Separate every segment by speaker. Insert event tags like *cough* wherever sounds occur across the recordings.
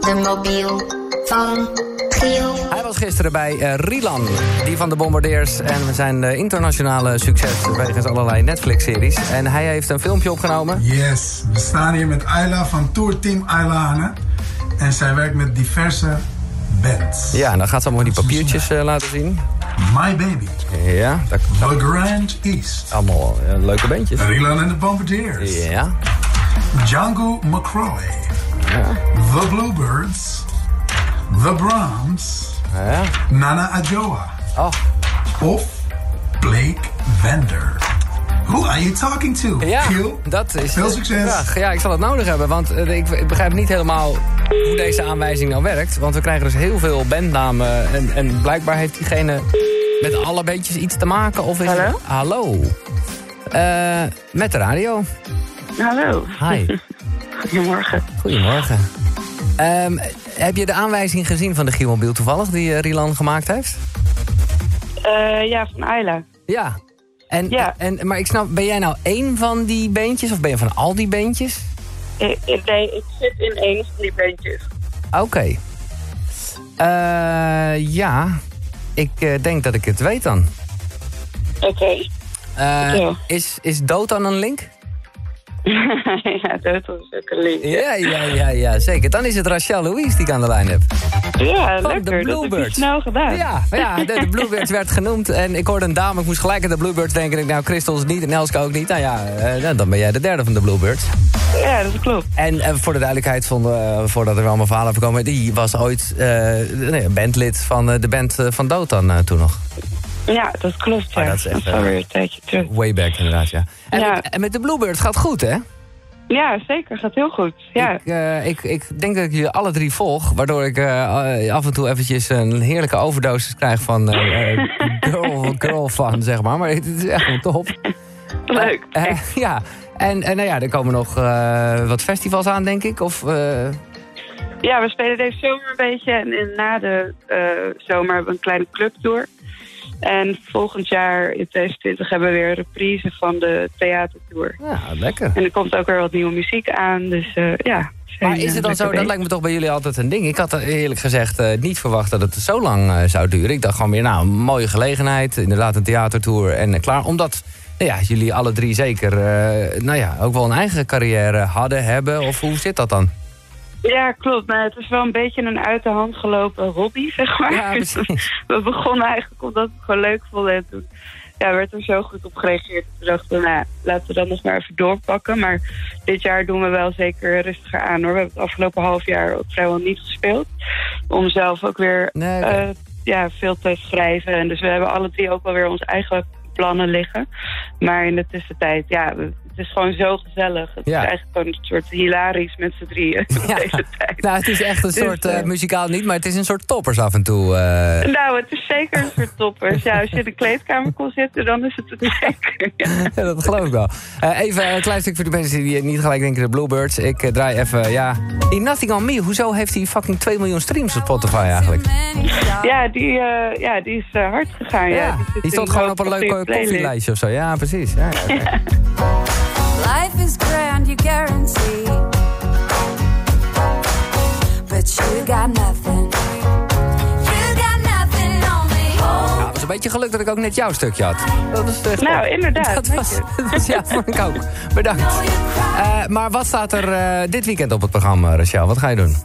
Speaker 1: de mobiel van Giel.
Speaker 2: Hij was gisteren bij eh, Rilan, die van de Bombardeers. En zijn eh, internationale succes wegens allerlei Netflix-series. En hij heeft een filmpje opgenomen.
Speaker 3: Yes, we staan hier met Ayla van Tourteam Aylane. En zij werkt met diverse bands.
Speaker 2: Ja, en dan gaat ze allemaal die papiertjes eh, laten zien.
Speaker 3: My Baby,
Speaker 2: Ja, dat,
Speaker 3: The Grand East,
Speaker 2: allemaal eh, leuke bandjes.
Speaker 3: Rilan and the Bombardiers,
Speaker 2: Ja,
Speaker 3: Django McCroy, The Bluebirds, The Brahms,
Speaker 2: ja.
Speaker 3: Nana Ajoa
Speaker 2: Oh,
Speaker 3: of Blake Vander. Who are you talking to?
Speaker 2: ja,
Speaker 3: Giel?
Speaker 2: dat is
Speaker 3: Veel
Speaker 2: de
Speaker 3: succes.
Speaker 2: vraag. Ja, ik zal het nodig hebben, want eh, ik, ik begrijp niet helemaal hoe deze aanwijzing nou werkt. Want we krijgen dus heel veel bandnamen. En, en blijkbaar heeft diegene met alle bandjes iets te maken. Of is
Speaker 4: Hallo?
Speaker 2: Hallo. Eh, met de radio.
Speaker 4: Hallo,
Speaker 2: Hi.
Speaker 4: goedemorgen.
Speaker 2: *laughs* Goedemorgen. Ehm, heb je de aanwijzing gezien van de Gielmobiel toevallig die eh, Rilan gemaakt heeft?
Speaker 4: Eh, ja, van Ayla.
Speaker 2: Ja. En,
Speaker 4: Ja.
Speaker 2: En, maar ik snap, ben jij nou één van die beentjes of ben je van al die beentjes?
Speaker 4: Ik, ik- nee, ik zit in een van die bandjes.
Speaker 2: Oké. Eh, ja, ik eh, denk dat ik het weet dan.
Speaker 4: Oké. *laughs*
Speaker 2: Eh,
Speaker 4: Ja.
Speaker 2: is, is dood dan een link?
Speaker 4: ja, dat was ook een link.
Speaker 2: Ja, ja, ja, ja, zeker. Dan is het Rachel Louise die ik aan de lijn heb.
Speaker 4: Ja,
Speaker 2: Van de
Speaker 4: lekker. Dat heb je
Speaker 2: Bluebirds.
Speaker 4: snel gedaan.
Speaker 2: Ja, ja de, de Bluebirds werd genoemd. En ik hoorde een dame, ik moest gelijk aan de Bluebirds denken. Ik, nou, Christels niet en Elske ook niet. Nou ja, eh, nou, dan ben jij de derde van de Bluebirds.
Speaker 4: Ja, dat klopt.
Speaker 2: En eh, voor de duidelijkheid, van, eh, voordat er allemaal verhalen voorkomen... die was ooit eh, nee, bandlid van eh, de band eh, van Dotan eh, toen nog.
Speaker 4: Ja, dat klopt. Ja.
Speaker 2: Oh, dat is echt, eh,
Speaker 4: alweer een tijdje terug.
Speaker 2: Way back inderdaad, ja. En,
Speaker 4: Ja.
Speaker 2: Met, en met de Bluebirds gaat goed, hè?
Speaker 4: Ja, zeker. Gaat heel goed. Ja,
Speaker 2: Ik, eh, ik, ik denk dat ik jullie alle drie volg, waardoor ik eh, eh, af en toe eventjes een heerlijke overdosis krijg van eh,
Speaker 4: *laughs*
Speaker 2: eh, girl, girl fun, zeg maar. Maar het is echt wel top.
Speaker 4: leuk.
Speaker 2: Eh, ja, en, en nou ja, er komen nog eh, wat festivals aan, denk ik. Of, eh,
Speaker 4: Ja, we spelen deze zomer een beetje. En, en na de eh, zomer hebben we een kleine clubtour. En volgend jaar in 2020 hebben we weer een reprise van de theatertour.
Speaker 2: ja, nou, lekker.
Speaker 4: En er komt ook weer wat nieuwe muziek aan. Dus eh, ja. we zijn,
Speaker 2: Maar is het
Speaker 4: eh,
Speaker 2: dan
Speaker 4: lekker
Speaker 2: zo, dat
Speaker 4: bezig.
Speaker 2: lijkt me toch bij jullie altijd een ding. Ik had eh, eerlijk gezegd eh, niet verwacht dat het zo lang eh, zou duren. Ik dacht gewoon weer, nou, een mooie gelegenheid. Inderdaad, een theatertour en eh, klaar. Omdat nou ja, jullie alle drie zeker eh, nou ja, ook wel een eigen carrière hadden, hebben. Of hoe zit dat dan?
Speaker 4: Ja, klopt. Nou, het is wel een beetje een uit de hand gelopen hobby, *laughs* zeg maar.
Speaker 2: Ja, precies.
Speaker 4: *laughs* we begonnen eigenlijk omdat we het gewoon leuk vonden. En toen ja, werd er zo goed op gereageerd. Toen dachten we, nou, laten we dat nog maar even doorpakken. Maar dit jaar doen we wel zeker rustiger aan, hoor. We hebben het afgelopen half jaar ook vrijwel niet gespeeld. Om zelf ook weer
Speaker 2: Nee, oké.
Speaker 4: eh, ja, veel te schrijven. En dus we hebben alle drie ook wel weer onze eigen plannen liggen. Maar in de tussentijd, ja... we- het is gewoon zo gezellig. Het
Speaker 2: Ja.
Speaker 4: is eigenlijk gewoon een soort hilarisch met z'n
Speaker 2: *laughs*
Speaker 4: drieën.
Speaker 2: *laughs* Ja.
Speaker 4: Deze tijd.
Speaker 2: Nou, het is echt een
Speaker 4: Dus,
Speaker 2: soort eh,
Speaker 4: eh,
Speaker 2: muzikaal niet, maar het is een soort toppers af en toe. eh.
Speaker 4: Nou, het is zeker een soort toppers. Ja, als je in de kleedkamer kon zitten, dan is het het zeker. Ja.
Speaker 2: Ja, dat geloof ik wel. Eh, even een klein stuk voor de mensen die eh, niet gelijk denken de Bluebirds. Ik eh, draai even, ja... Die Nothing On Me, hoezo heeft hij fucking 2 miljoen streams op Spotify eigenlijk?
Speaker 4: Ja, die, eh, ja, die is eh, hard gegaan. Ja,
Speaker 2: Ja,
Speaker 4: Die zit
Speaker 2: die stond
Speaker 4: in
Speaker 2: gewoon
Speaker 4: de
Speaker 2: op een leuk eh,
Speaker 4: playlist.
Speaker 2: koffielijstje of zo. Ja, precies. Ja, ja, oké.
Speaker 5: Life is grand, you guarantee. But you got nothing. You got nothing Oh, on me.
Speaker 2: Ja, het was een beetje geluk dat ik ook net jouw stukje had. Dat is echt *laughs*
Speaker 4: Nou,
Speaker 2: top.
Speaker 4: inderdaad,
Speaker 2: Dat was, dat was ja, vond ik ook. Bedankt. Eh, maar wat staat er eh, dit weekend op het programma, Rachel? Wat ga je doen?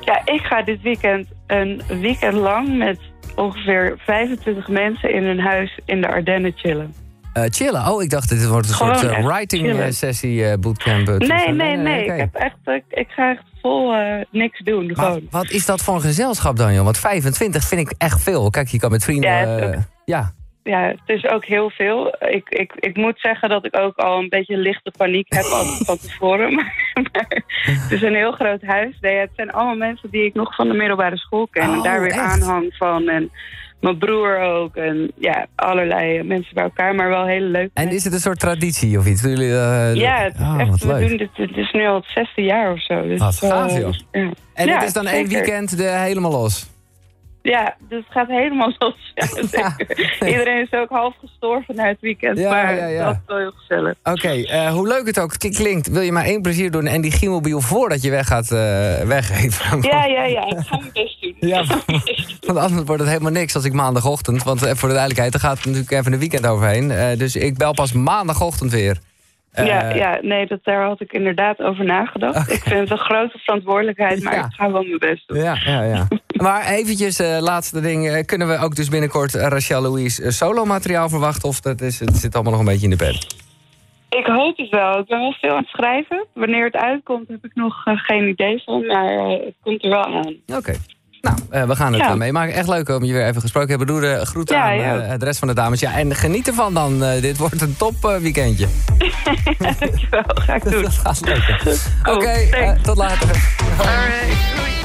Speaker 4: Ja, ik ga dit weekend een weekend lang met ongeveer 25 mensen in hun huis in de Ardennen chillen.
Speaker 2: Eh, chillen. Oh, ik dacht, dit wordt een
Speaker 4: Gewoon
Speaker 2: soort eh,
Speaker 4: echt
Speaker 2: writing eh,
Speaker 4: chillen.
Speaker 2: sessie, eh, bootcamp. eh,
Speaker 4: Nee,
Speaker 2: toestand.
Speaker 4: nee, nee.
Speaker 2: oké.
Speaker 4: Ik, heb echt, ik, ik ga echt vol eh, niks doen.
Speaker 2: Maar
Speaker 4: Gewoon.
Speaker 2: wat is dat voor een gezelschap dan, joh? Want 25 vind ik echt veel. Kijk, je kan met vrienden...
Speaker 4: Ja, het is
Speaker 2: eh,
Speaker 4: ook-
Speaker 2: ja.
Speaker 4: Ja, het is ook heel veel. Ik, ik, ik moet zeggen dat ik ook al een beetje lichte paniek heb al
Speaker 2: *laughs*
Speaker 4: van tevoren. *laughs* Maar, maar het is een heel groot huis. Nee, het zijn allemaal mensen die ik nog van de middelbare school ken. en
Speaker 2: Oh,
Speaker 4: daar weer
Speaker 2: echt?
Speaker 4: aanhang van. En mijn broer ook. En ja, allerlei mensen bij elkaar. Maar wel hele leuk.
Speaker 2: En is het een soort traditie of iets? Doen jullie, eh,
Speaker 4: ja, het is
Speaker 2: oh,
Speaker 4: echt,
Speaker 2: wat
Speaker 4: we
Speaker 2: leuk.
Speaker 4: doen dit, dit is nu al het zesde jaar of zo. Dus,
Speaker 2: Wat
Speaker 4: eh,
Speaker 2: gaaf, joh.
Speaker 4: ja.
Speaker 2: En
Speaker 4: Ja,
Speaker 2: het is dan één
Speaker 4: zeker.
Speaker 2: weekend eh, helemaal los?
Speaker 4: Ja, dus het gaat helemaal *laughs* zoals je zou zeggen. Iedereen is ook half gestorven na het weekend.
Speaker 2: Ja,
Speaker 4: maar
Speaker 2: ja, ja.
Speaker 4: dat is wel heel gezellig.
Speaker 2: Oké, eh, hoe leuk het ook k- klinkt, wil je maar één plezier doen en die Giemobiel voordat je weg gaat eh, weggeven.
Speaker 4: Ja, ja, ja. Ik ga mijn best doen.
Speaker 2: *laughs* Ja, want anders wordt het helemaal niks als ik maandagochtend. Want eh, voor de duidelijkheid, er gaat natuurlijk even een weekend overheen. Eh, dus ik bel pas maandagochtend weer. Eh,
Speaker 4: ja, ja, nee, dat, daar had ik inderdaad over nagedacht. Ik vind het een grote verantwoordelijkheid, maar
Speaker 2: Ja.
Speaker 4: ik ga wel mijn best doen.
Speaker 2: Ja, ja, ja. *laughs* maar eventjes, eh, laatste ding. eh, kunnen we ook dus binnenkort eh, Rachel Louise eh, solo-materiaal verwachten? Of dat is, het zit allemaal nog een beetje in de pet?
Speaker 4: Ik hoop het wel. Ik ben wel veel aan het schrijven. Wanneer het uitkomt heb ik nog eh, geen idee van, maar eh, het komt er wel aan. *laughs*
Speaker 2: Oké. Nou, eh, we gaan het
Speaker 4: Ja.
Speaker 2: eh, meemaken. Echt leuk om je weer even gesproken te hebben. Doe de groeten
Speaker 4: Ja,
Speaker 2: aan
Speaker 4: ja.
Speaker 2: eh, de rest van de dames. Ja, en geniet ervan dan. Eh, dit wordt een top eh, weekendje.
Speaker 4: Dankjewel, ga ik doen.
Speaker 2: Dat gaat lukken. Oké,
Speaker 4: Cool,
Speaker 2: eh,
Speaker 4: Oh, thanks.
Speaker 2: tot later.
Speaker 4: Alright, doei.